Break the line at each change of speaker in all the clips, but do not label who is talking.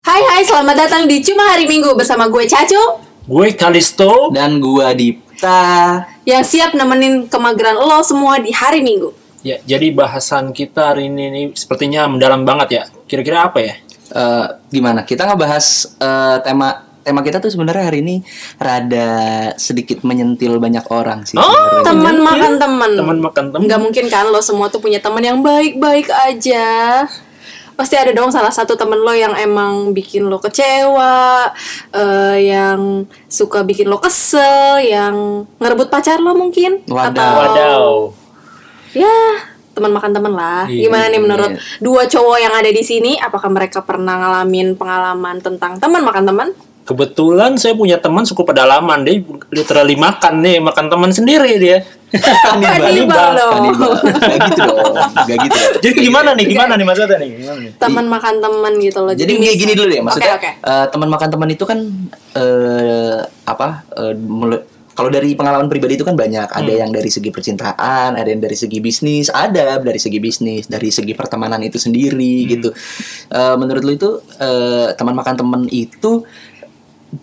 Hai hai, selamat datang di Cuma Hari Minggu bersama gue Caco
Gue Kalisto
dan gua Dipta.
yang siap nemenin kemageran lo semua di hari Minggu.
Ya, jadi bahasan kita hari ini nih sepertinya mendalam banget ya. Kira-kira apa ya?
Eh, gimana? Kita ngebahas eh, tema tema kita tuh sebenarnya hari ini rada sedikit menyentil banyak orang sih. sebenarnya.
Oh, Teman makan teman.
Oh, Iya. Teman makan teman.
Nggak mungkin kan lo semua tuh punya teman yang baik-baik aja. Pasti ada dong salah satu temen lo yang emang bikin lo kecewa, eh, yang suka bikin lo kesel, yang ngerebut pacar lo mungkin.
Wadaw.
Atau-
Wadaw.
ya teman makan teman lah
Iya,
gimana nih menurut
iya.
dua cowok yang ada di sini apakah mereka pernah ngalamin pengalaman tentang teman makan teman
Kebetulan saya punya teman suku pedalaman, dia literally makan nih, makan teman sendiri dia.
kanibal loh
Kanibal. Gak gitu dong. Gak gitu. dong.
Jadi gimana nih? Gimana nih maksudnya nih? Gimana nih?
teman makan teman gitu loh
Jadi gini, gini dulu deh maksudnya
Oke,
eh, teman makan teman itu kan eh, apa eh, mele- kalau dari pengalaman pribadi itu kan banyak ada
Hmm.
yang dari segi percintaan ada yang dari segi bisnis ada dari segi bisnis dari segi pertemanan itu sendiri
Hmm.
gitu Eh, menurut lu itu eh, teman makan teman itu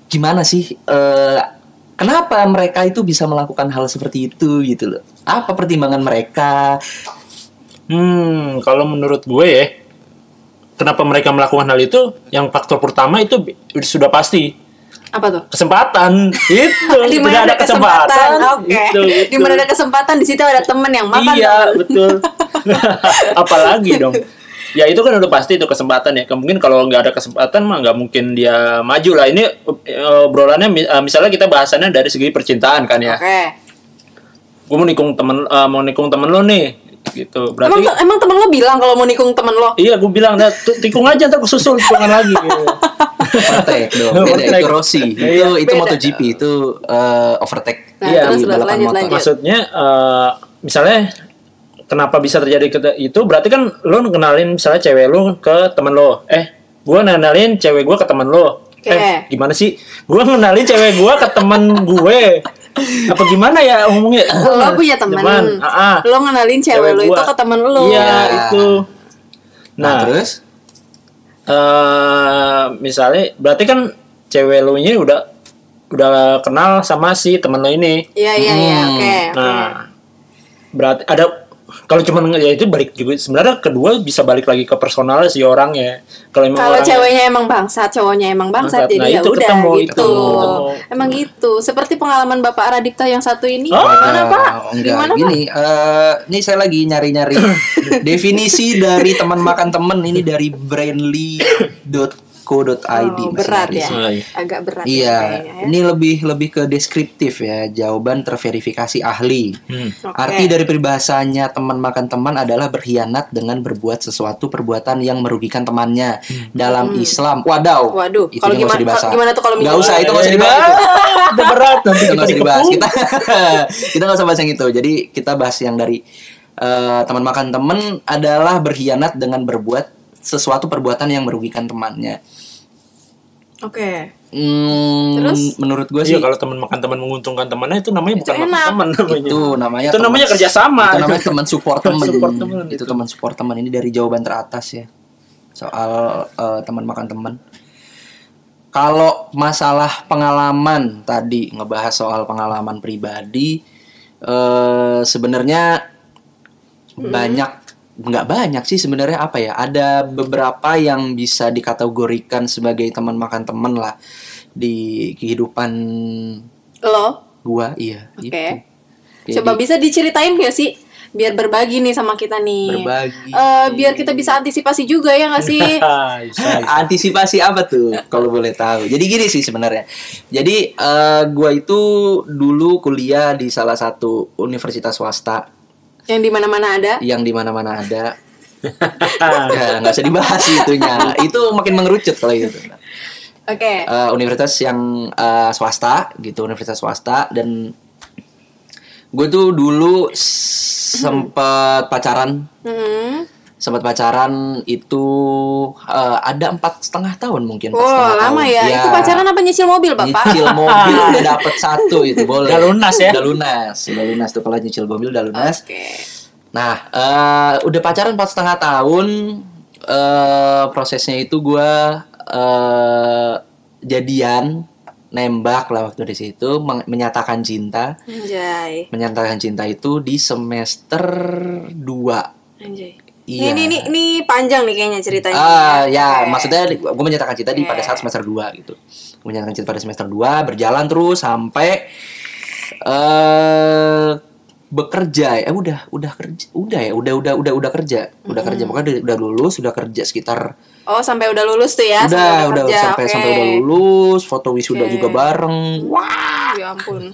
gimana sih eh, kenapa mereka itu bisa melakukan hal seperti itu gitu loh apa pertimbangan mereka
Hmm, kalau menurut gue ya, kenapa mereka melakukan hal itu? Yang faktor pertama itu bi- sudah pasti
apa tuh
kesempatan Gitu. itu
di
Tidak
mana ada kesempatan, oke
Gitu,
di
gitu.
mana ada kesempatan di situ ada teman yang makan
iya
teman.
betul apalagi dong ya itu kan udah pasti itu kesempatan ya mungkin kalau nggak ada kesempatan mah nggak mungkin dia maju lah ini eh, obrolannya mi- eh, misalnya kita bahasannya dari segi percintaan kan ya
oke
gue mau nikung temen eh, mau nikung temen lo nih
emang
gitu berarti
emang teman lo bilang kalau mau nikung temen lo
iya gue bilang "Nah, tu- tikung aja ntar susul tikungan lagi gitu.
overtake dong beda
Overtake.
itu Rossi itu
Iya.
itu
Beda.
MotoGP itu eh, overtake
Nah,
Iya,
terus
di
lo
balapan
lanjut
motor.
lanjut
maksudnya eh, misalnya kenapa bisa terjadi ke- itu berarti kan lo kenalin misalnya cewek lo ke temen lo eh gue kenalin cewek gue ke temen lo
Oke.
eh gimana sih gue kenalin cewek gue ke temen gue apa gimana ya ngomongnya
Iya.
lo punya teman
ah, ah.
lo ngenalin cewek, lo itu
gua.
ke temen lo
iya
Ya.
itu
nah,
nah,
terus
eh misalnya berarti kan cewek lo ini udah udah kenal sama si temen lo ini
Iya iya iya
Hmm.
oke. oke.
Nah, berarti ada kalau cuman nge- ya itu balik juga sebenarnya kedua bisa balik lagi ke personalnya si orangnya. Kalau emang
Kalau
orangnya-
ceweknya emang bangsat, cowoknya emang bangsat,
Bangsat.
jadi
Nah,
ya
itu
udah
ketemu,
gitu.
itu Nah. ketemu.
Emang gitu. Seperti pengalaman Bapak Radipta yang satu ini.
Oh,
Gimana,
Nah,
Pak?
enggak
Gimana, Pak?
gini eh, ini saya lagi nyari-nyari definisi dari teman makan temen ini dari brainly.co.id
Oh,
Mas
berat ya.
Haris.
Oh, iya.
Agak berat ya
Iya,
kayaknya ya.
ini lebih lebih ke deskriptif ya, jawaban terverifikasi ahli.
Oke.
Arti dari peribahasanya teman makan teman adalah berkhianat dengan berbuat sesuatu perbuatan yang merugikan temannya dalam Islam. Wadaw.
Hmm. Waduh,
itu
kalau
nggak usah
gimana-
dibahas.
gimana tuh kalau
Nggak
minum?
usah, itu nggak usah
Eh,
dibahas. itu.
ah, udah berat nanti
Itu
kita
nggak usah dibahas.
dikepung.
Kita kita nggak usah bahas yang itu. Jadi kita bahas yang dari eh, teman makan teman adalah berkhianat dengan berbuat sesuatu perbuatan yang merugikan temannya.
Oke.
Hmm,
Terus?
menurut gue sih
Iya, kalau teman makan teman menguntungkan temannya itu namanya bukan makan
enak.
teman namanya.
itu namanya
Iya. Itu namanya kerjasama.
itu namanya teman support teman
Support teman,
itu
gitu.
teman support teman ini dari jawaban teratas ya soal eh, teman makan teman kalau masalah pengalaman tadi ngebahas soal pengalaman pribadi eh sebenarnya
Hmm.
banyak nggak banyak sih sebenarnya apa ya ada beberapa yang bisa dikategorikan sebagai teman makan teman lah di kehidupan
Lo,
gua iya
oke.
gitu. Jadi-
Coba bisa diceritain nggak sih biar berbagi nih sama kita nih.
Berbagi.
Eh, biar kita bisa antisipasi juga ya nggak sih?
Ah, bisa.
Antisipasi apa tuh kalau boleh tahu? Jadi gini sih sebenarnya. Jadi eh, gua itu dulu kuliah di salah satu universitas swasta
yang di mana-mana ada.
yang di mana-mana ada. Ya, nggak usah dibahas itunya. Itu makin mengerucut kalau itu.
Oke.
Eh, universitas yang eh, swasta gitu universitas swasta dan gue tuh dulu sempat pacaran
Hmm.
sempat pacaran itu eh, ada empat setengah tahun mungkin empat
Oh,
setengah
lama
tahun. Iya.
ya. Itu pacaran apa nyicil mobil, Bapak?
nyicil mobil udah dapet satu itu boleh
Udah lunas ya?
udah lunas udah lunas tuh kalau nyicil mobil udah lunas
Oke.
nah eh, udah pacaran empat setengah tahun eh prosesnya itu gua eh, jadian nembak lah waktu di situ meng- menyatakan cinta
Anjay.
menyatakan cinta itu di semester 2
Anjay.
Iya.
Ini, ini, ini panjang nih kayaknya ceritanya.
ah ya
iya, Oke. Iya,
maksudnya gue menyatakan cinta di pada saat semester 2 gitu Gua menyatakan cinta pada semester 2 berjalan terus sampai eh bekerja eh udah udah kerja udah ya udah udah udah udah kerja udah kerja pokoknya udah, udah lulus udah kerja sekitar
Oh, sampai udah lulus tuh ya? sampai
udah udah
kerja.
sampai
Oke.
sampai udah lulus foto wisuda
Oke.
juga bareng
Ya ampun.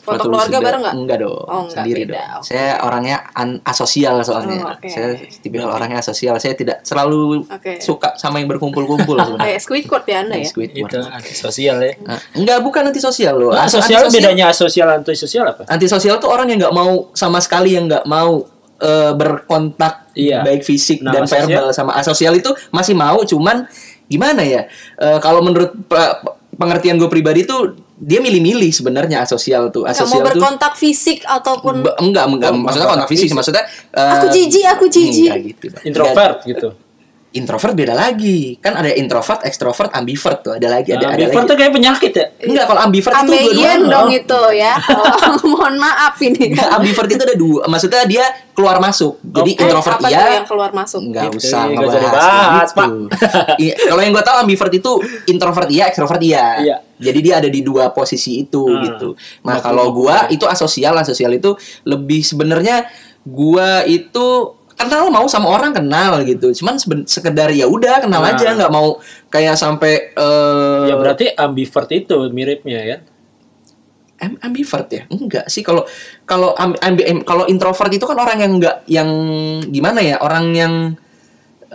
Foto keluarga
wisuda.
bareng nggak?
Enggak dong,
Oh, enggak,
sendiri
beda.
dong.
Oke.
Saya orangnya an- asosial soalnya.
Oh, oke.
Saya tipikal orangnya asosial. Saya tidak selalu
Oke.
suka sama yang berkumpul-kumpul sebenarnya.
Kayak Squidward ya Anda ya?
Squidward.
Itu antisosial ya.
Ah, enggak, bukan antisosial loh. Aso-
Asosial Nah, bedanya asosial antisosial apa?
Antisosial tuh orang yang nggak mau sama sekali yang nggak mau eh, berkontak
Iya.
baik fisik
Nah,
dan
asosial?
verbal sama asosial itu masih mau cuman gimana ya? Eh, kalau menurut pe- pengertian gue pribadi tuh dia milih-milih sebenarnya asosial tuh.
Nggak mau
Asosial tuh
berkontak fisik ataupun
Ba- enggak, enggak, maksudnya kontak fisik, maksudnya eh,
aku jijik, aku jijik.
enggak gitu. Bang.
Introvert gitu.
Enggak. Introvert beda lagi. Kan ada introvert, ekstrovert, ambivert tuh. Ada lagi, ada
Nah,
ada
Introvert
lagi.
tuh kayak penyakit ya.
Enggak, kalau ambivert itu dua-duanya.
Ambeien dong itu ya. Oh, mohon maaf ini.
Enggak, ambivert itu ada dua. Maksudnya dia keluar masuk. Jadi
Oke.
introvert
apa
iya,
tuh yang keluar masuk?
Enggak
Gitu,
usah
nggak usah
ngebahas
dibahas,
gitu. Iya, kalau yang gue tahu ambivert itu introvert iya, ekstrovert iya.
Iya.
Jadi dia ada di dua posisi itu
Hmm.
gitu. Nah, kalau gua itu asosial, asosial itu lebih sebenarnya gua itu kenal mau sama orang kenal gitu. Cuman seben- sekedar ya udah kenal
Nah.
aja nggak mau kayak sampai eh
Ya berarti ambivert itu miripnya kan.
am- ambivert ya enggak sih kalau kalau am- ambi- em- kalau introvert itu kan orang yang enggak yang gimana ya orang yang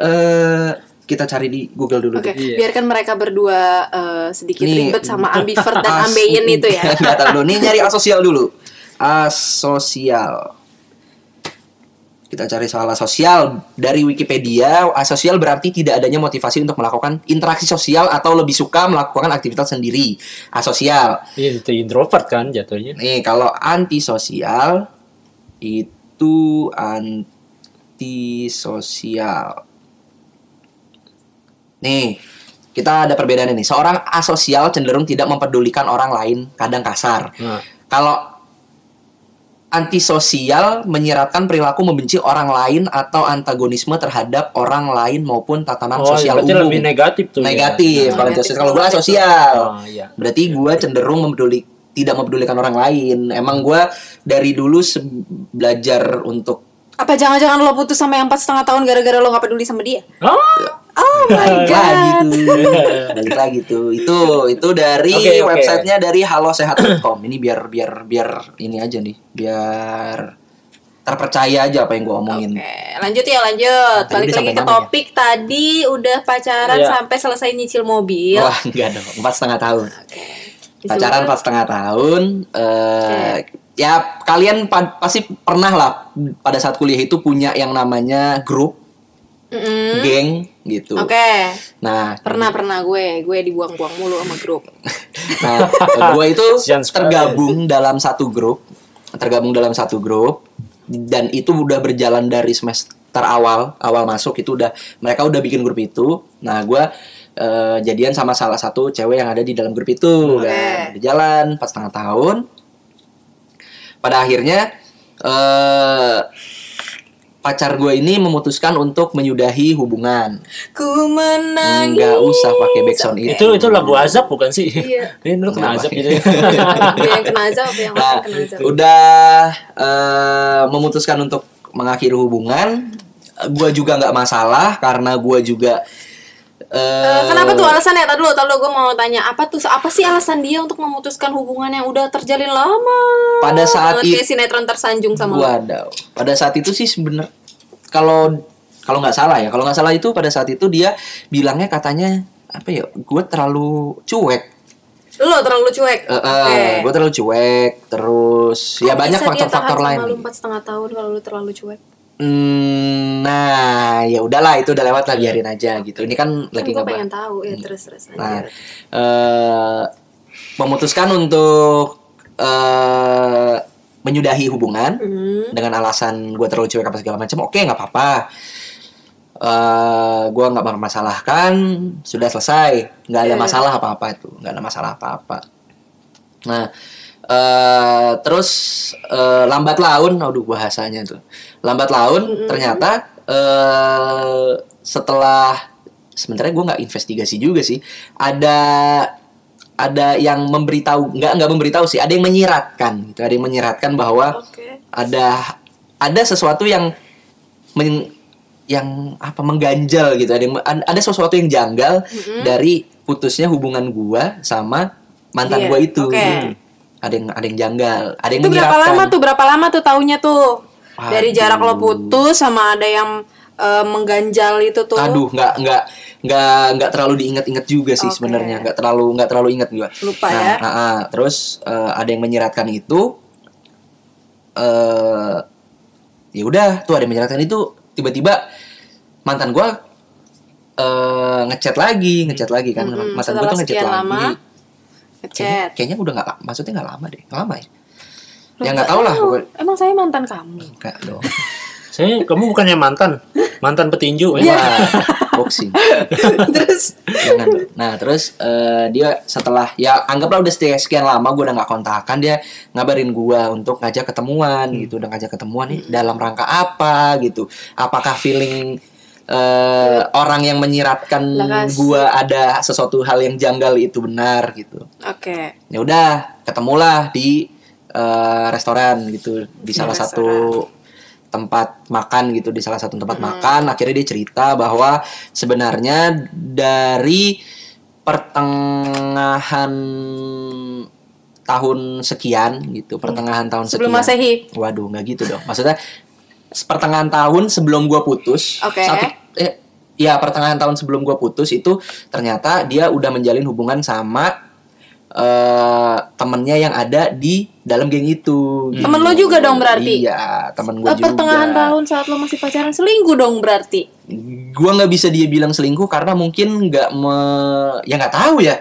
eh kita cari di Google dulu
Oke,
deh.
Iya.
biarkan mereka berdua eh, sedikit
Nih.
ribet sama ambivert dan ambeien itu ya.
Enggak tahu dulu. Nih nyari asosial dulu. Asosial. Kita cari soal asosial dari Wikipedia. Asosial berarti tidak adanya motivasi untuk melakukan interaksi sosial atau lebih suka melakukan aktivitas sendiri. Asosial.
Iya itu introvert kan jatuhnya.
Nih kalau antisosial itu antisosial. Nih kita ada perbedaan ini. Seorang asosial cenderung tidak mempedulikan orang lain, kadang kasar.
Nah,
Kalau antisosial menyiratkan perilaku membenci orang lain atau antagonisme terhadap orang lain maupun tatanan
oh,
Kan sosial
berarti
umum.
lebih negatif tuh. ya.
Negatif,
Nah,
kalau
negatif.
antisosial. Kalau gue asosial.
Oh, iya.
Ya, Berarti gue cenderung mempeduli tidak mempedulikan orang lain. Emang gue dari dulu se- belajar untuk
Apa jangan-jangan lo putus sama yang empat setengah tahun gara-gara lo gak peduli sama dia?
Ah,
Oh my
balik lagi
god.
tuh, balik lagi tuh. Itu itu dari
Oke, oke.
websitenya dari halosehat.com. Ini biar biar biar ini aja nih, biar terpercaya aja apa yang gue omongin.
Oke, lanjut ya lanjut.
Tadi
Balik
udah
lagi
sampai
ke
mana ya?
topik tadi udah pacaran
Iya.
sampai selesai nyicil mobil.
Wah Oh, enggak dong, empat setengah tahun.
Disuruh-
Pacaran empat setengah tahun.
Iya.
eh, Ya kalian pa- pasti pernah lah pada saat kuliah itu punya yang namanya grup,
Mm-mm.
geng gitu.
Oke,
Nah,
pernah pernah gue, gue dibuang-buang mulu sama grup.
nah gue itu
Kesian sekali.
tergabung dalam satu grup, tergabung dalam satu grup, dan itu udah berjalan dari semester awal, awal masuk itu udah mereka udah bikin grup itu. Nah, gue jadian sama salah satu cewek yang ada di dalam grup itu, kan. dan berjalan empat setengah tahun. Pada akhirnya eh pacar gue ini memutuskan untuk menyudahi hubungan.
Ku menangis.
Nggak usah pakai backsound itu.
itu itu lagu azab bukan sih?
Iya.
Ini lu kena
Iya. Kenapa?
azab gitu.
Dia yang kena azab, yang
Hmm. Nah,
kena azab.
udah eh, memutuskan untuk mengakhiri hubungan. Eh, Gua juga nggak masalah karena gua juga.
Eh,
eh,
kenapa tuh alasannya? Tadi dulu, tadi dulu gue mau tanya apa tuh apa sih alasan dia untuk memutuskan hubungan yang udah terjalin lama?
Pada saat
Banget kayak
itu-
sinetron tersanjung sama lo.
Wadaw. Pada saat itu sih sebener kalau kalau nggak salah ya, kalau nggak salah itu pada saat itu dia bilangnya katanya apa ya? Gue terlalu cuek.
Lo terlalu cuek.
Eh, eh,
Oke.
Gue terlalu cuek. Terus ya
Kok
banyak
bisa dia
faktor-faktor
tahan
lain.
Sama lu empat setengah tahun kalau lu terlalu cuek.
Hmm, nah ya udahlah itu udah lewat lah biarin aja gitu. Ini kan lagi
gue
ngebahas-
pengen tahu ya terus terus
Nah,
aja.
eh, memutuskan untuk eh, menyudahi hubungan
Hmm.
dengan alasan gue terlalu cuek apa segala macam. Oke, nggak apa-apa. eh gue nggak mempermasalahkan sudah selesai nggak ada masalah apa apa itu nggak ada masalah apa apa nah eh terus eh, lambat laun aduh bahasanya tuh lambat laun ternyata eh setelah sebenarnya gue nggak investigasi juga sih ada ada yang memberitahu nggak nggak memberitahu sih ada yang menyiratkan gitu ada yang menyiratkan bahwa
Oke.
ada ada sesuatu yang men- yang apa mengganjal gitu ada yang- ada sesuatu yang janggal dari putusnya hubungan gua sama mantan
Iya,
gua itu
oke.
Hmm. ada yang ada yang janggal ada yang
Itu berapa
menyiratkan.
lama tuh? Berapa lama tuh taunya tuh? Dari
Aduh.
jarak lo putus sama ada yang eh, mengganjal itu tuh.
aduh nggak nggak nggak nggak terlalu diingat-ingat juga sih
Oke.
sebenarnya nggak terlalu nggak terlalu ingat gua
Lupa
Nah,
ya.
ah, ah. terus eh, ada yang menyiratkan itu eh ya udah tuh ada yang menyiratkan itu tiba-tiba mantan gua eh ngechat lagi ngechat lagi kan
Hmm,
mantan gua
setelah
tuh ngechat
sekian
lagi
lama
Kayaknya,
ngechat.
kayaknya udah nggak maksudnya nggak lama deh nggak lama ya
Loh,
ya nggak tau lah
tahu.
gua
Emang saya mantan kamu.
nggak dong
Saya kamu bukannya mantan, mantan petinju.
Iya.
ya?
Wah, boxing
Terus
Jangan. Nah terus eh, dia setelah ya anggaplah udah stay sekian lama gue udah nggak kontakan dia ngabarin gue untuk ngajak ketemuan gitu udah ngajak ketemuan nih dalam rangka apa gitu apakah feeling eh, orang yang menyiratkan
Lah, kasih.
gue ada sesuatu hal yang janggal itu benar gitu
oke.
ya udah ketemulah di eh, restoran gitu di salah satu tempat makan gitu di salah satu tempat makan akhirnya dia cerita bahwa sebenarnya dari pertengahan tahun sekian gitu pertengahan tahun
Sebelum
sekian
Masehi.
waduh nggak gitu dong maksudnya pertengahan tahun sebelum gua putus
Oke.
satu eh, ya pertengahan tahun sebelum gua putus itu ternyata dia udah menjalin hubungan sama eh temennya yang ada di dalam geng itu gitu.
Temen lo juga dong berarti?
iya temen gua
Eh,
juga
pertengahan tahun saat lo masih pacaran selingkuh dong berarti.
gua nggak bisa dia bilang selingkuh karena mungkin nggak me ya nggak tahu ya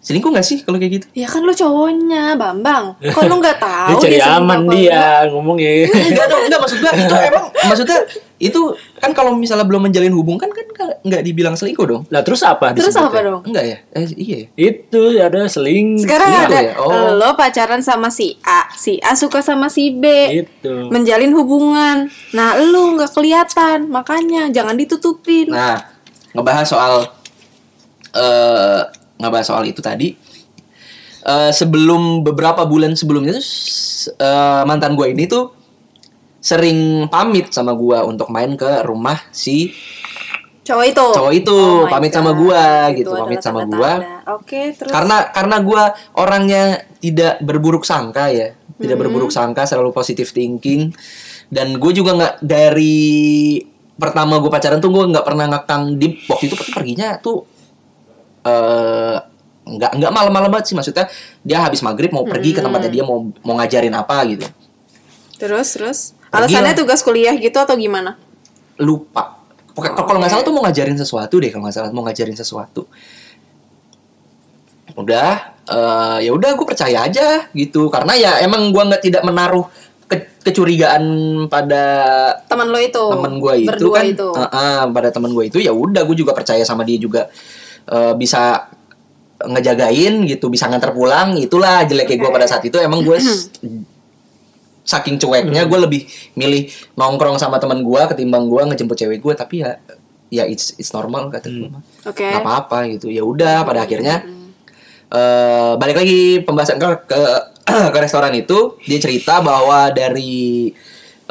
selingkuh nggak sih kalau kayak gitu
Ya kan lo cowoknya, Bambang. Kok lo nggak
Dia
tahu
cari
selingkuh
aman
apa enggak?
dia ngomongnya.
enggak dong enggak maksud gua itu emang maksudnya itu kan kalau misalnya belum menjalin hubungan kan nggak- nggak dibilang selingkuh dong
Nah terus apa?
Terus
disebutnya?
apa dong?
enggak ya eh, iya ya
Itu ada seling.
Sekarang
Iya,
ada
iya. Oh.
lo pacaran sama si A, si A suka sama si B.
Gitu.
menjalin hubungan. Nah, lu nggak kelihatan, makanya jangan ditutupin.
Nah, ngebahas soal eh ngebahas soal itu tadi eh, sebelum beberapa bulan sebelumnya tuh s- eh, mantan gue ini tuh sering pamit sama gue untuk main ke rumah si
cowok itu.
cowok itu,
Oh my
pamit sama
God.
gua,
Itu
gitu,
adalah
pamit sama
tanda-tanda.
gua.
Oke, terus
karena karena gue orangnya tidak berburuk sangka ya tidak berburuk sangka selalu positive thinking dan gue juga nggak dari pertama gue pacaran tuh gue nggak pernah ngekang di waktu itu pasti perginya tuh eh, nggak nggak malam-malam banget sih maksudnya dia habis maghrib mau pergi ke tempatnya dia mau mau ngajarin apa gitu
terus terus
Pergi
alasannya
lah.
tugas kuliah gitu atau gimana?
lupa Pokoknya kalau nggak salah tuh mau ngajarin sesuatu deh kalau nggak salah mau ngajarin sesuatu udah eh, ya udah gue percaya aja gitu karena ya emang gua nggak tidak menaruh ke- kecurigaan pada
Teman lo itu.
teman gue itu
Gitu. berdua
kan
itu.
Eh, eh, pada teman gue itu ya udah gue juga percaya sama dia juga eh, bisa ngejagain gitu bisa nganter pulang itulah jeleknya gue
Oke.
pada saat itu emang gue s- saking cueknya
Hmm.
gue lebih milih nongkrong sama teman gue ketimbang gue ngejemput cewek gue tapi ya ya it's it's normal kata gue mah.
Oke.
Nggak apa-apa gitu ya udah
Hmm.
pada akhirnya eh, balik lagi pembahasan ke ke, ke restoran itu dia cerita bahwa dari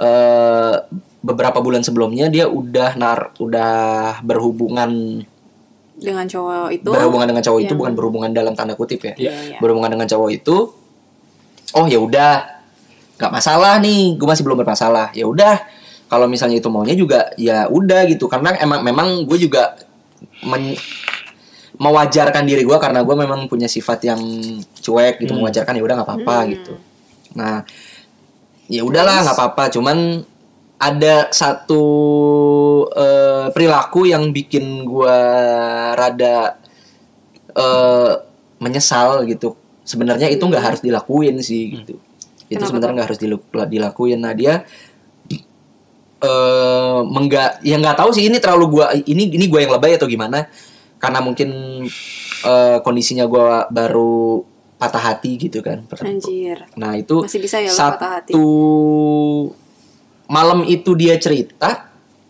eh, beberapa bulan sebelumnya dia udah nar udah berhubungan
Dengan cowok itu.
berhubungan dengan cowok itu
yang-
bukan berhubungan dalam tanda kutip ya
Iya, iya.
berhubungan dengan cowok itu oh ya udah nggak masalah nih gue masih belum bermasalah ya udah kalau misalnya itu maunya juga ya udah gitu karena emang memang gue juga men- mewajarkan diri gue karena gue memang punya sifat yang cuek gitu mewajarkan ya udah nggak apa-apa gitu nah ya udahlah nggak apa-apa cuman ada satu eh, perilaku yang bikin gue rada eh menyesal gitu. Sebenarnya itu nggak harus dilakuin sih gitu. Itu
Kenapa
sebenarnya nggak harus dilu- dilakuin. Nah dia eh mengga yang nggak tahu sih ini terlalu gua ini ini gua yang lebay atau gimana karena mungkin eh, kondisinya gua baru patah hati gitu kan
Anjir.
nah itu
Masih bisa ya lo
satu
patah hati.
malam itu dia cerita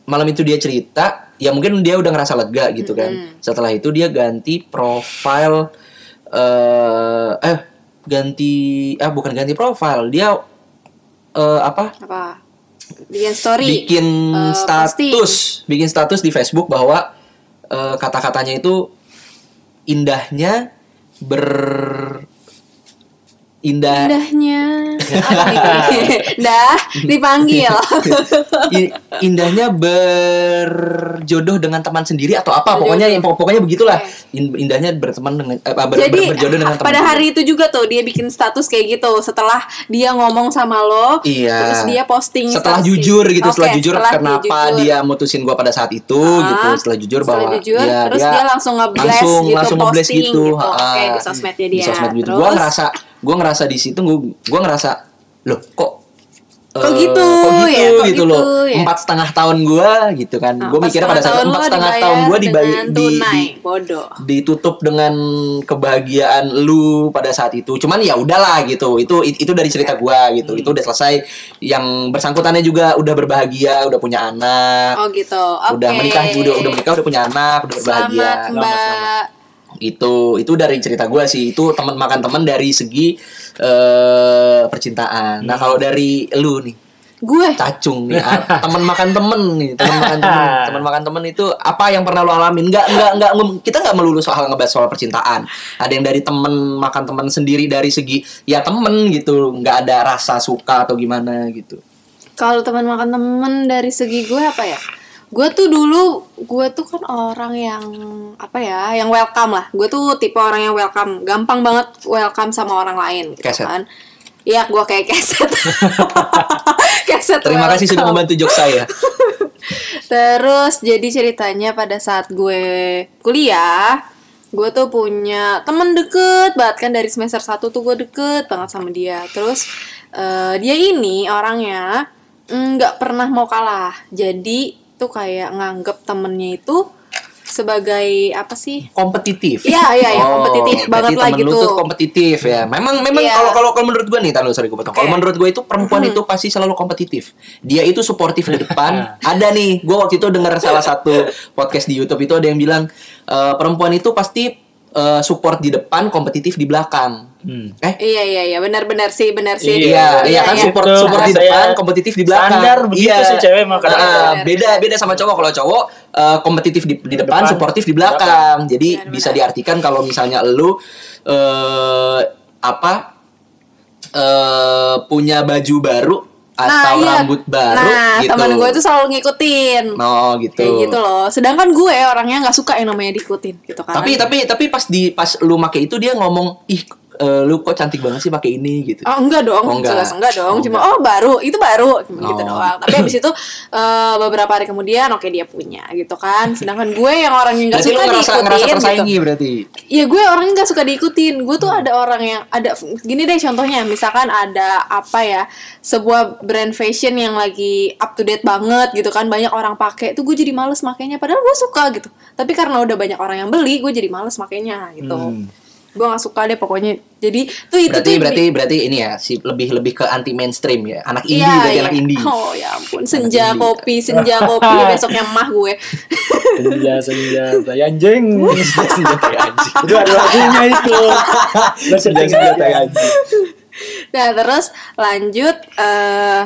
malam itu dia cerita ya mungkin dia udah ngerasa lega gitu kan setelah itu dia ganti profile eh eh ganti ah bukan ganti profile dia eh apa
Apa? Bikin story.
bikin
Eh,
status bikin status di Facebook bahwa eh, kata-katanya itu indahnya ber indah
Indahnya. Apa nih? Dah, dipanggil.
i- indahnya berjodoh dengan teman sendiri atau apa pokoknya yang pokoknya begitulah In- indahnya berteman dengan eh, ber- ber-
Jadi ah,
berjodoh dengan teman
pada
sendiri.
hari itu juga tuh dia bikin status kayak gitu setelah dia ngomong sama lo,
Iya.
terus dia posting
setelah
status
jujur
itu.
gitu
Oke,
setelah jujur
setelah
kenapa
jujur.
dia mutusin gua pada saat itu gitu
Ah,
setelah jujur
setelah
bahwa
jujur,
ya,
terus dia langsung nge-blast
langsung,
gitu,
langsung nge-blast
posting
gitu,
gitu.
ah,
Oke, di sosmednya
di
dia.
sosmed gitu
Terus?
gua ngerasa gua ngerasa di situ gua, gua ngerasa loh kok
Kok
eh,
gitu
kok gitu,
ya, kok gitu
gitu loh
ya.
empat setengah tahun gua gitu kan
Nah,
gua mikirnya pada saat
tahun
itu empat
lo
setengah
dibayar
tahun gua dibayi
dengan
di,
tunai.
di-
bodoh.
ditutup dengan kebahagiaan lu pada saat itu. Cuman ya udahlah gitu. Itu itu dari cerita gua gitu.
Hmm.
Itu udah selesai. Yang bersangkutannya juga udah berbahagia, udah punya anak,
Oh gitu. Oke.
udah menikah juga, udah menikah, udah punya anak, udah berbahagia.
Selamat, Mbak.
Itu itu dari cerita gua sih. Itu teman makan teman dari segi eh percintaan.
Hmm.
Nah, kalau dari lu nih
Gue
cacung nih ah, teman makan temen nih teman makan temen teman makan temen itu apa yang pernah lo alamin nggak nggak nggak ngem- kita nggak melulu soal ngebahas soal percintaan ada yang dari temen makan temen sendiri dari segi ya temen gitu nggak ada rasa suka atau gimana gitu
Kalau teman makan temen dari segi gue apa ya? Gue tuh dulu gue tuh kan orang yang apa ya, yang welcome lah. Gue tuh tipe orang yang welcome, gampang banget welcome sama orang lain gitu
Keset.
kan. Iya, gue kayak keset. keset.
terima kasih sudah
welcome.
membantu jok saya
Terus jadi ceritanya pada saat gue kuliah, gue tuh punya temen deket banget kan dari semester 1 tuh gue deket banget sama dia. Terus eh, dia ini orangnya mm, nggak pernah mau kalah. Jadi tuh kayak nganggep temennya itu sebagai apa sih?
kompetitif
Iya, iya, iya, kompetitif banget
berarti
lah
temen lu
gitu.
tuh kompetitif ya memang memang
Iya.
kalau kalau kalau menurut gue nih tahu sorry gue potong kalau
Oke.
menurut gue itu perempuan itu pasti selalu kompetitif dia itu suportif di depan ada nih gue waktu itu dengar salah satu podcast di YouTube itu ada yang bilang eh, perempuan itu pasti eh, support di depan kompetitif di belakang
Hmm,
eh
Iya, iya, iya, benar-benar sih, benar sih.
Iya, iya kan
Iya.
support
Betul,
support di
saya-
depan, kompetitif di belakang.
Standar begitu
Iya.
sih cewek mah kadang.
Nah, beda beda sama cowok kalau cowok eh, kompetitif di, di depan,
depan,
suportif
di
di belakang.
belakang.
Jadi
Benar,
bisa
Iya, benar.
diartikan kalau misalnya lu eh apa eh punya baju baru atau
iya.
rambut baru
nah,
gitu.
teman gue tuh selalu ngikutin.
Oh, gitu.
Kayak gitu loh. Sedangkan gue orangnya nggak suka yang namanya diikutin gitu kan.
Tapi tapi tapi pas di pas lu make itu dia ngomong ih eh, lu kok cantik banget sih pakai ini gitu.
Oh enggak dong,
Oh, enggak.
jelas enggak dong.
Oh,
Cuma oh baru, itu baru Cuma gitu
Oh.
doang. Tapi habis itu eh, beberapa hari kemudian oke dia punya gitu kan. Sedangkan gue yang orang yang enggak
berarti lu
suka
ngerasa ngerasa
diikutin gitu.
tersaingi berarti.
Ya gue orangnya nggak suka diikutin. Gue tuh ada orang yang ada gini deh contohnya. Misalkan ada apa ya sebuah brand fashion yang lagi up to date banget gitu kan banyak orang pakai. Tuh gue jadi males makainya. Padahal gue suka gitu. Tapi karena udah banyak orang yang beli, gue jadi males makainya gitu. Gue nggak suka deh pokoknya. Jadi tuh itu
Hmm. berarti
tuh
berarti berarti ini ya si lebih lebih ke anti mainstream ya anak indie
Iya,
berarti
iya.
anak indie
Oh ya ampun, senja
indie.
kopi, senja kopi besoknya mah gue.
Senja, senja, tai anjing.
Senja tai anjing.
itu ada lagunya itu. Senja, senja, tai anjing.
Nah, terus lanjut eh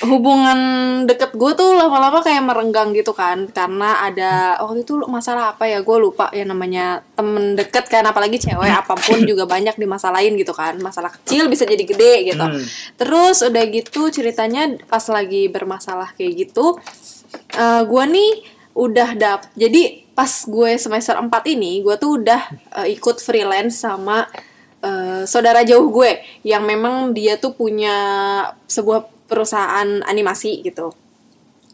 hubungan deket gue tuh lama-lama kayak merenggang gitu kan karena ada waktu itu masalah apa ya gue lupa ya namanya temen deket kan apalagi cewek
Hmm.
apapun juga banyak dimasalahin gitu kan masalah kecil bisa jadi gede gitu
Hmm.
terus udah gitu ceritanya pas lagi bermasalah kayak gitu eh gue nih udah dap jadi pas gue semester 4 ini gue tuh udah eh, ikut freelance sama eh, saudara jauh gue yang memang dia tuh punya sebuah perusahaan animasi gitu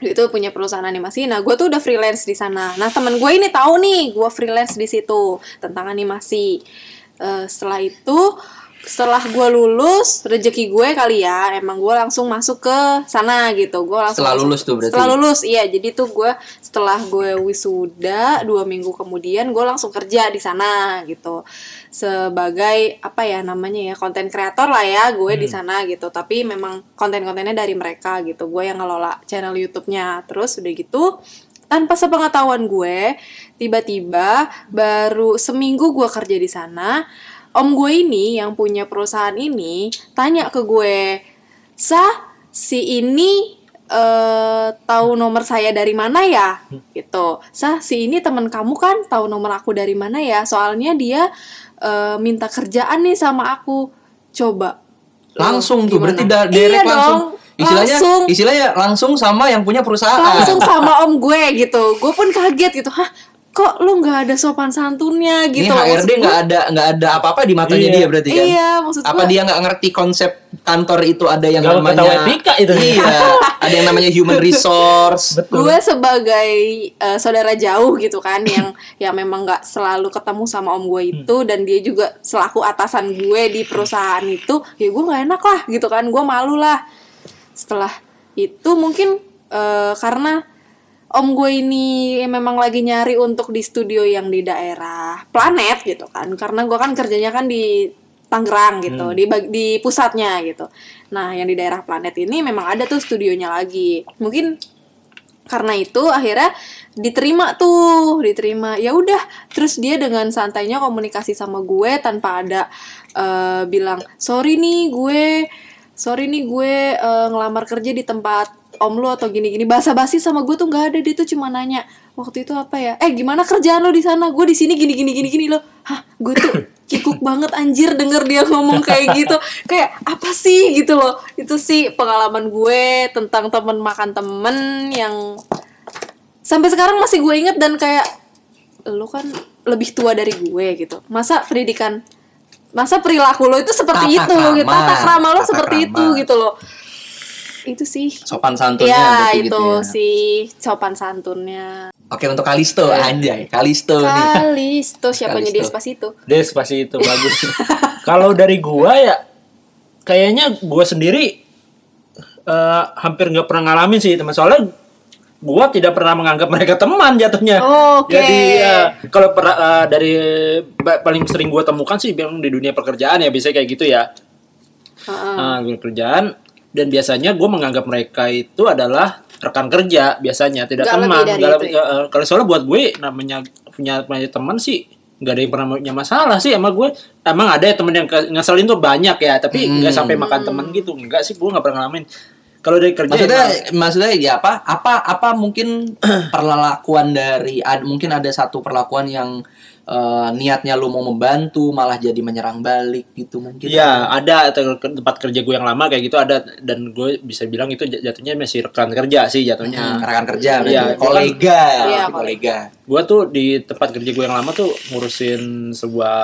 dia itu punya perusahaan animasi. Nah, gue tuh udah freelance di sana. Nah, temen gue ini tahu nih, gue freelance di situ tentang animasi. Eh, setelah itu setelah gue lulus rezeki gue kali ya emang gue langsung masuk ke sana gitu gue langsung
Setelah
masuk-
lulus tuh berarti? ya?
setelah lulus iya jadi tuh gue setelah gue wisuda dua minggu kemudian gue langsung kerja di sana gitu sebagai apa ya namanya ya konten kreator lah ya gue di sana gitu tapi memang konten-kontennya dari mereka gitu gue yang ngelola channel YouTube-nya terus udah gitu tanpa sepengetahuan gue tiba-tiba baru seminggu gue kerja di sana om gue ini yang punya perusahaan ini tanya ke gue sa si ini eh tahu nomor saya dari mana ya gitu sa si ini teman kamu kan tahu nomor aku dari mana ya soalnya dia eh, minta kerjaan nih sama aku coba
Langsung tuh
Gimana?
berarti
Iya
da- direct langsung.
dong,
Istilahnya ah,
langsung.
istilahnya langsung sama yang punya perusahaan.
langsung sama om gue gitu gue pun kaget gitu hah kok lu nggak ada sopan santunnya
Ini
gitu loh.
HRD
Maksud gue-
nggak ada nggak ada apa-apa di matanya
Iya.
dia berarti kan.
iya maksud
apa
gue
dia nggak ngerti konsep kantor itu ada yang
Nggak
namanya
ketawa etika itu.
iya ada yang namanya human resource
Betul.
gue sebagai eh, saudara jauh gitu kan yang yang memang nggak selalu ketemu sama om gue itu dan dia juga selaku atasan gue di perusahaan itu ya gue nggak enak lah gitu kan gue malu lah setelah itu mungkin eh, karena om gue ini memang lagi nyari untuk di studio yang di daerah planet gitu kan karena gue kan kerjanya kan di Tangerang gitu di bag- di pusatnya gitu nah yang di daerah planet ini memang ada tuh studionya lagi mungkin karena itu akhirnya diterima tuh diterima ya udah terus dia dengan santainya komunikasi sama gue tanpa ada eh, bilang sorry nih gue sorry nih gue eh, ngelamar kerja di tempat om lu atau gini-gini basa-basi sama gue tuh nggak ada dia tuh cuma nanya waktu itu apa ya eh gimana kerjaan lo di sana gue di sini gini-gini gini-gini lo hah gue tuh kikuk banget anjir denger dia ngomong kayak gitu kayak apa sih gitu loh itu sih pengalaman gue tentang temen makan temen yang sampai sekarang masih gue inget dan kayak lu kan lebih tua dari gue gitu masa pendidikan masa perilaku lo itu seperti itu
Tata
gitu
krama.
tata krama lo
Tata
seperti
krama.
itu gitu loh itu sih
sopan santunnya
ya
berarti
itu
gitu ya.
sih sopan santunnya
oke untuk Kalisto anjay Kalisto nih
Iya. Kalisto siapanya
Kalisto.
dia pas itu
Despacito bagus. Kalau dari gua ya kayaknya gua sendiri eh, hampir nggak pernah ngalamin sih teman soalnya gua tidak pernah menganggap mereka teman jatuhnya.
Oke.
Jadi ya, kalau per- eh, dari ba- paling sering gua temukan sih memang di dunia pekerjaan ya biasanya kayak gitu ya.
Heeh.
Nah, dunia pekerjaan dan biasanya gue menganggap mereka itu adalah rekan kerja biasanya tidak
Nggak
teman
lebih dari
Nggak
itu ya?
lebih- nggak, eh, kalau soalnya buat gue namanya punya punya teman sih nggak ada yang pernah punya masalah sih emang gue emang ada ya temen yang ke- ngeselin tuh banyak ya tapi
Hmm.
nggak sampai makan teman
Hmm.
gitu nggak sih gue nggak pernah ngalamin kalau dari kerja
maksudnya
emang-
maksudnya ya apa apa apa mungkin perlakuan dari ad- mungkin ada satu perlakuan yang eh, niatnya lu mau membantu malah jadi menyerang balik gitu mungkin
Iya, ada atau ke- tempat kerja gue yang lama kayak gitu ada dan gue bisa bilang itu jat- jatuhnya masih rekan kerja sih jatuhnya.
Hmm, rekan kerja berarti
Iya,
kolega
Iya,
berarti kolega
gue tuh di tempat kerja gue yang lama tuh ngurusin sebuah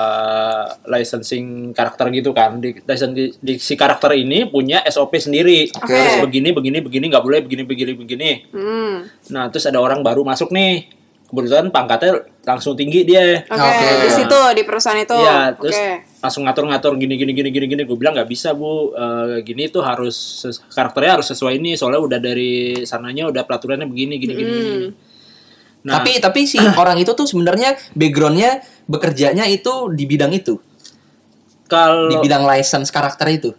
licensing karakter gitu kan di, license- di- di- si karakter ini punya SOP sendiri
Oke.
Harus begini begini begini nggak boleh begini begini begini
Hmm.
nah terus ada orang baru masuk nih kebetulan pangkatnya langsung tinggi dia
Oke,
Oke.
di situ di perusahaan itu.
Iya,
Oke.
terus langsung ngatur-ngatur gini gini gini gini gini. Gue bilang nggak bisa bu, Eh, gini tuh harus ses- karakternya harus sesuai ini. Soalnya udah dari sananya udah peraturannya begini gini gini. gini.
Hmm.
Nah,
tapi tapi si orang itu tuh sebenarnya backgroundnya bekerjanya itu di bidang itu di
kalau
bidang license karakter itu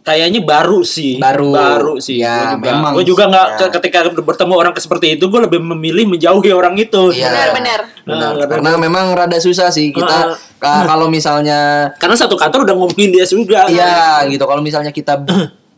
kayaknya baru sih
Baru.
baru sih
Ya,
gue juga
memang
gue juga
sih,
nggak
ya.
ketika bertemu orang ke- seperti itu gue lebih memilih menjauhi orang itu
Iya.
Benar, benar.
benar
Nah,
karena memang rada susah sih kita ka- kalau misalnya
karena satu kantor udah ngomongin dia juga
Iya gitu. Kalau misalnya kita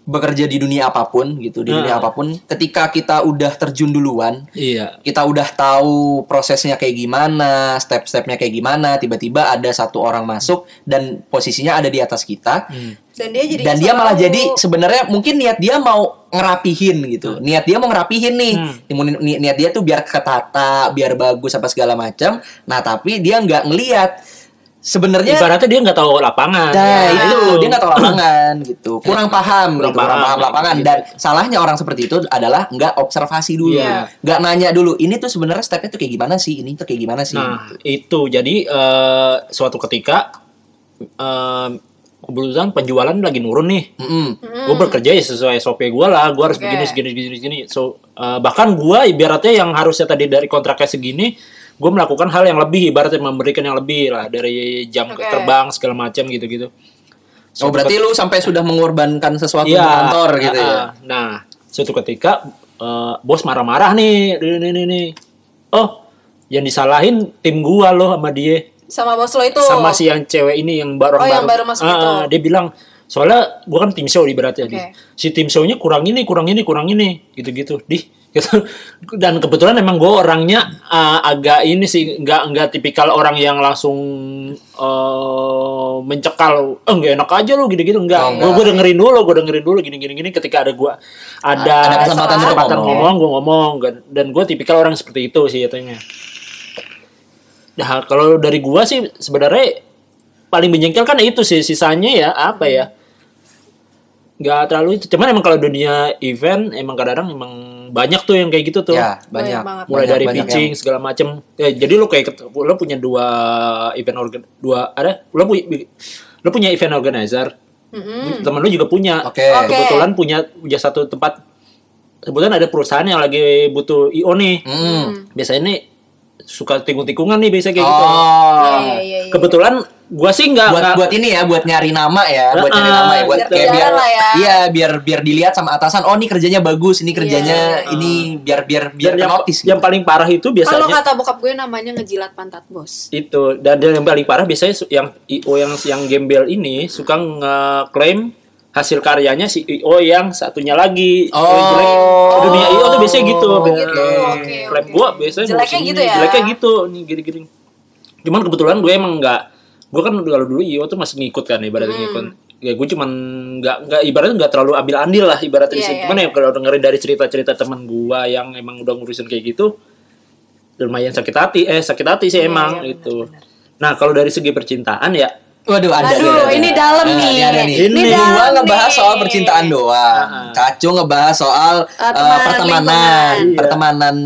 bekerja di dunia apapun gitu, di dunia apapun, ketika kita udah terjun duluan,
iya
kita udah tahu prosesnya kayak gimana, step-stepnya kayak gimana, tiba-tiba ada satu orang masuk dan posisinya ada di atas kita.
Dan dia jadi
Dan dia malah jadi sebenarnya mungkin niat dia mau ngerapihin gitu. Niat dia mau ngerapihin nih. Ni- ni- Niat dia tuh biar ketata, biar bagus apa segala macam. Nah, tapi dia nggak ngelihat sebenarnya
ibaratnya dia nggak tahu lapangan
Nah,
Ya,
itu dia nggak tahu lapangan gitu, kurang paham,
Kurang
gitu, kurang
paham,
paham
ya,
lapangan
gitu.
dan salahnya orang seperti itu adalah nggak observasi dulu,
Iya.
nggak nanya dulu. Ini tuh sebenarnya stepnya tuh kayak gimana sih? Ini tuh kayak gimana sih?
Nah, itu jadi eh, suatu ketika eh, kebetulan penjualan lagi nurun nih
Mm-mm.
gue bekerja ya sesuai SOP gue lah gue harus
Hmm. Oke.
begini segini segini segini so uh, bahkan gue ibaratnya yang harusnya tadi dari kontraknya segini gue melakukan hal yang lebih ibaratnya memberikan yang lebih lah dari jam
Oke.
terbang segala macam gitu gitu
Oh berarti lu sampai sudah mengorbankan sesuatu di
Iya,
kantor gitu ya?
ah, ah. Nah, suatu ketika eh, bos marah-marah nih, ini ini nih. Oh, yang disalahin tim gua loh sama dia,
sama bos lo itu Iya,
sama si yang cewek ini yang baru
Oh, yang baru masuk
Ah,
itu.
ah, Dia bilang soalnya gua kan tim show ibaratnya
Oke.
Di- si tim show-nya kurang ini, kurang ini, kurang ini, gitu-gitu. Di gitu. Dan kebetulan emang gua orangnya ah, agak ini sih nggak nggak tipikal orang yang langsung eh, mencekal, eh nggak enak aja lo gitu-gitu enggak. Gua-
Oh,
gua dengerin dulu, gue dengerin dulu gini-gini gini ketika ada gua ada,
Ada kesempatan untuk ngomong.
Iya, ngomong, gue ngomong dan- dan gue tipikal orang seperti itu sih katanya. Nah, kalau dari gua sih sebenarnya paling menjengkelkan itu sih sisanya ya apa ya? nggak terlalu itu. Cuman emang kalau dunia event emang kadang-kadang emang banyak tuh yang kayak gitu tuh.
Ya banyak.
Banyak banget.
Mulai
Banyak-
dari
banyak
pitching segala macem. Ya, jadi lo kayak ket- lo punya dua event organ dua ada lo punya lo punya event organizer. Temen lo juga punya.
Oke.
Mm-hmm. Oke.
Kebetulan punya punya satu tempat kebetulan ada perusahaan yang lagi butuh IO nih.
yang- Mm.
Biasanya nih suka tikung-tikungan nih biasanya kayak gitu. Nah,
Oh.
Iya, iya, iya.
Kebetulan gua sih nggak
Buat
nggak-
buat ini ya, buat nyari nama ya, buat nyari
Ah,
nama ya, buat
biar kelihatan lah ya.
iya biar biar dilihat sama atasan. Oh ini kerjanya bagus, ini kerjanya ini biar biar biar
Iya. Dan
gitu.
yang,
kenotis.
yang paling parah itu
kalau
biasanya
kata bokap gue namanya ngejilat pantat bos
itu dan, dan yang paling parah biasanya su- yang IO yang yang gembel ini suka ngeklaim hasil karyanya si IO yang satunya lagi.
Oh.
Yang jelek. dunia IO tuh biasanya gitu.
Oh,
Bener.
gitu. Oke,
Klaim
oke.
gua biasanya
Jeleknya
bagus
gitu
ini,
ya?
Jeleknya gitu nih gini-gini. Cuman kebetulan gue emang nggak gue kan kalau dulu IO tuh masih ngikut kan ibaratnya
Hmm.
ngikut. Ya gue cuman nggak nggak ibaratnya nggak terlalu ambil andil lah ibaratnya
Iya,
di situ.
iya,
Cuman ya kalau dengerin dari cerita-cerita teman gua yang emang udah ngurusin kayak gitu lumayan sakit hati eh sakit hati sih emang
iya,
itu. Nah, kalau dari segi percintaan ya
Waduh ada.
Aduh,
ada, ada.
ini dalam
Nah,
nih.
Ini ada nih.
Ini Ah,
dalam
Gua ngebahas
nih.
soal percintaan doang. Cacu ngebahas soal eh,
temanan,
pertemanan,
lingkungan.
pertemanan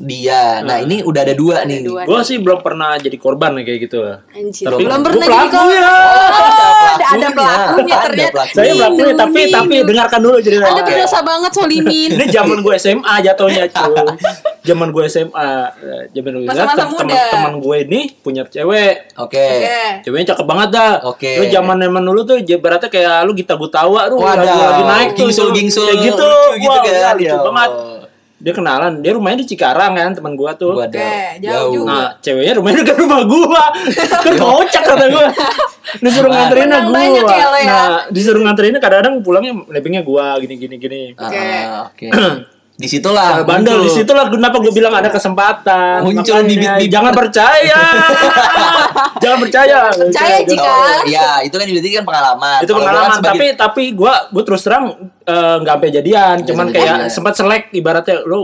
dia.
Ah.
Nah, ini udah ada dua nih.
dua.
Gue sih belum pernah jadi korban kayak gitu.
Anjir.
Tapi-
Belum
Gua
pernah jadi
pelaku ya.
Oh, ada, ada
pelakunya.
pelakunya
Ada
ternyata.
pelakunya.
Saya
Ninu,
melakukan tapi
Ninu.
tapi dengarkan dulu cerita.
Anda berdosa banget solimin.
Ini zaman gue SMA jatuhnya cuy. Zaman gue SMA, eh, zaman gue SMA
Masa-masa muda.
teman-teman gue ini punya cewek.
Oke.
Oke.
Ceweknya cakep banget dah.
Oke.
Lu zaman zaman dulu tuh beratnya kayak lu gita gutawa lu
Waduh,
lagi, lagi naik tuh.
gingsul,
lu-
gingsul,
kayak gitu.
lucu gitu
Wah,
kan,
gila,
ya
lucu
Allah.
banget. Dia kenalan, dia rumahnya di Cikarang kan teman gue tuh.
Gua ada.
Oke, jauh juga.
Nah, ceweknya rumahnya dekat rumah gua. Kan kocak kata gua. Disuruh
Apaan?
nganterin
Menang
gua.
banyak ya lo ya?
Nah, disuruh nganterinnya kadang-kadang pulangnya lepingnya gua gini gini gini. Nah,
Ah,
Oke.
Oke. Disitulah.
bandel
muncul.
di situlah kenapa gua bilang ada kesempatan. Makanya,
Muncul bibit-bibit.
jangan percaya. jangan percaya.
Percaya, Ji. Jika-
Oh, ya itu kan berarti kan pengalaman.
itu
Kalau gua kan
pengalaman
sebagai-
tapi tapi gua gua terus terang eh, nggak sampai jadian cuman
sampai
kayak
jadian.
sempat selek ibaratnya lu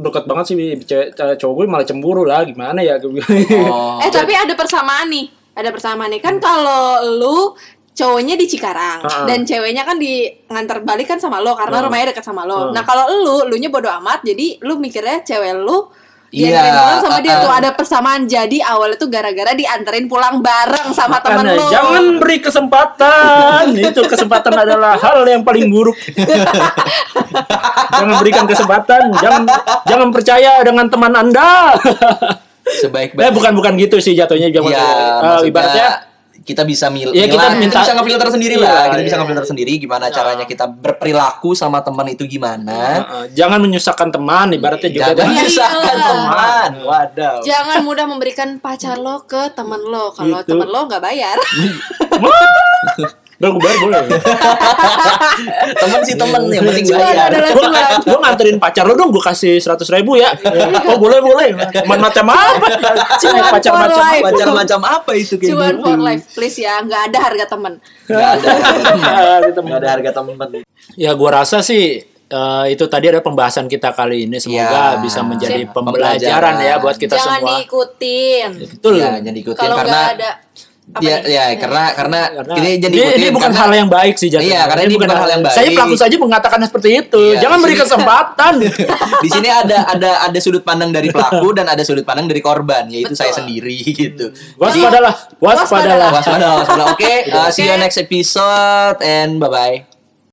deket banget sih cewek- cowok gue malah cemburu lah gimana ya gua bilang.
Oh.
Eh tapi ada persamaan nih. Ada persamaan nih. Kan kalau lu cowoknya di Cikarang
Ha-ha.
dan ceweknya kan di ngantar balik kan sama lo karena
Ha.
rumahnya dekat sama lo.
Ha.
Nah, kalau lu lu nya bodo amat jadi lu mikirnya cewek lu
Iya,
dianterin pulang sama dia
ha-ha.
tuh ada persamaan. Jadi awalnya tuh gara-gara dianterin pulang bareng sama temen
Makanya,
lu.
Jangan beri kesempatan. Itu kesempatan adalah hal yang paling buruk. jangan berikan kesempatan. Jangan jangan percaya dengan teman Anda.
sebaik-baik.
Eh bukan bukan gitu sih jatuhnya jangan.
Iya,
Eh,
maksudnya
ibaratnya
kita bisa mil
Iya, kita
milah-
minta-
bisa ngefilter sendiri
Iya,
lah. Kita
iya.
bisa ngefilter sendiri gimana caranya kita berperilaku sama teman itu gimana.
eh, jangan menyusahkan teman ibaratnya juga
Jangan
Iya,
menyusahkan
iya.
teman. Waduh.
Jangan mudah memberikan pacar lo ke temen lo kalau
Gitu.
temen lo nggak bayar.
Udah gue bayar boleh.
teman sih teman
Iya.
yang penting
Cuman
bayar.
adalah
gue gue nganterin pacar lo dong gue kasih seratus ribu ya. Oh boleh boleh. Teman macam apa?
Cuman
Pacar
for
macam
life.
Macam macam apa itu kayak
Cuman
gitu?
for life, please ya, nggak ada harga temen.
Nggak ada.
apa?
Nggak ada harga teman.
Ya gua rasa sih eh, itu tadi ada pembahasan kita kali ini semoga
Ya,
bisa menjadi
Sip.
pembelajaran ya buat kita
Jangan
semua.
diikutin.
Betul.
Iya, jangan diikutin
Kalau
karena
nggak ada, Apa
ya,
nih?
ya karena karena
Iya. Karena
ini jadi
ini, ini
ikutin,
bukan
karena-
hal yang baik sih jatuhnya.
Iya, karena ini bukan hal yang baik.
Saya pelaku saja mengatakan seperti itu.
Iya,
Jangan
di
beri
sini-
kesempatan.
di sini ada ada ada sudut pandang dari pelaku dan ada sudut pandang dari korban yaitu
Betul.
saya sendiri gitu.
waspadalah,
Waspadalah.
waspadalah.
Waspadalah, waspadalah. Oke, uh, see you next episode and bye bye.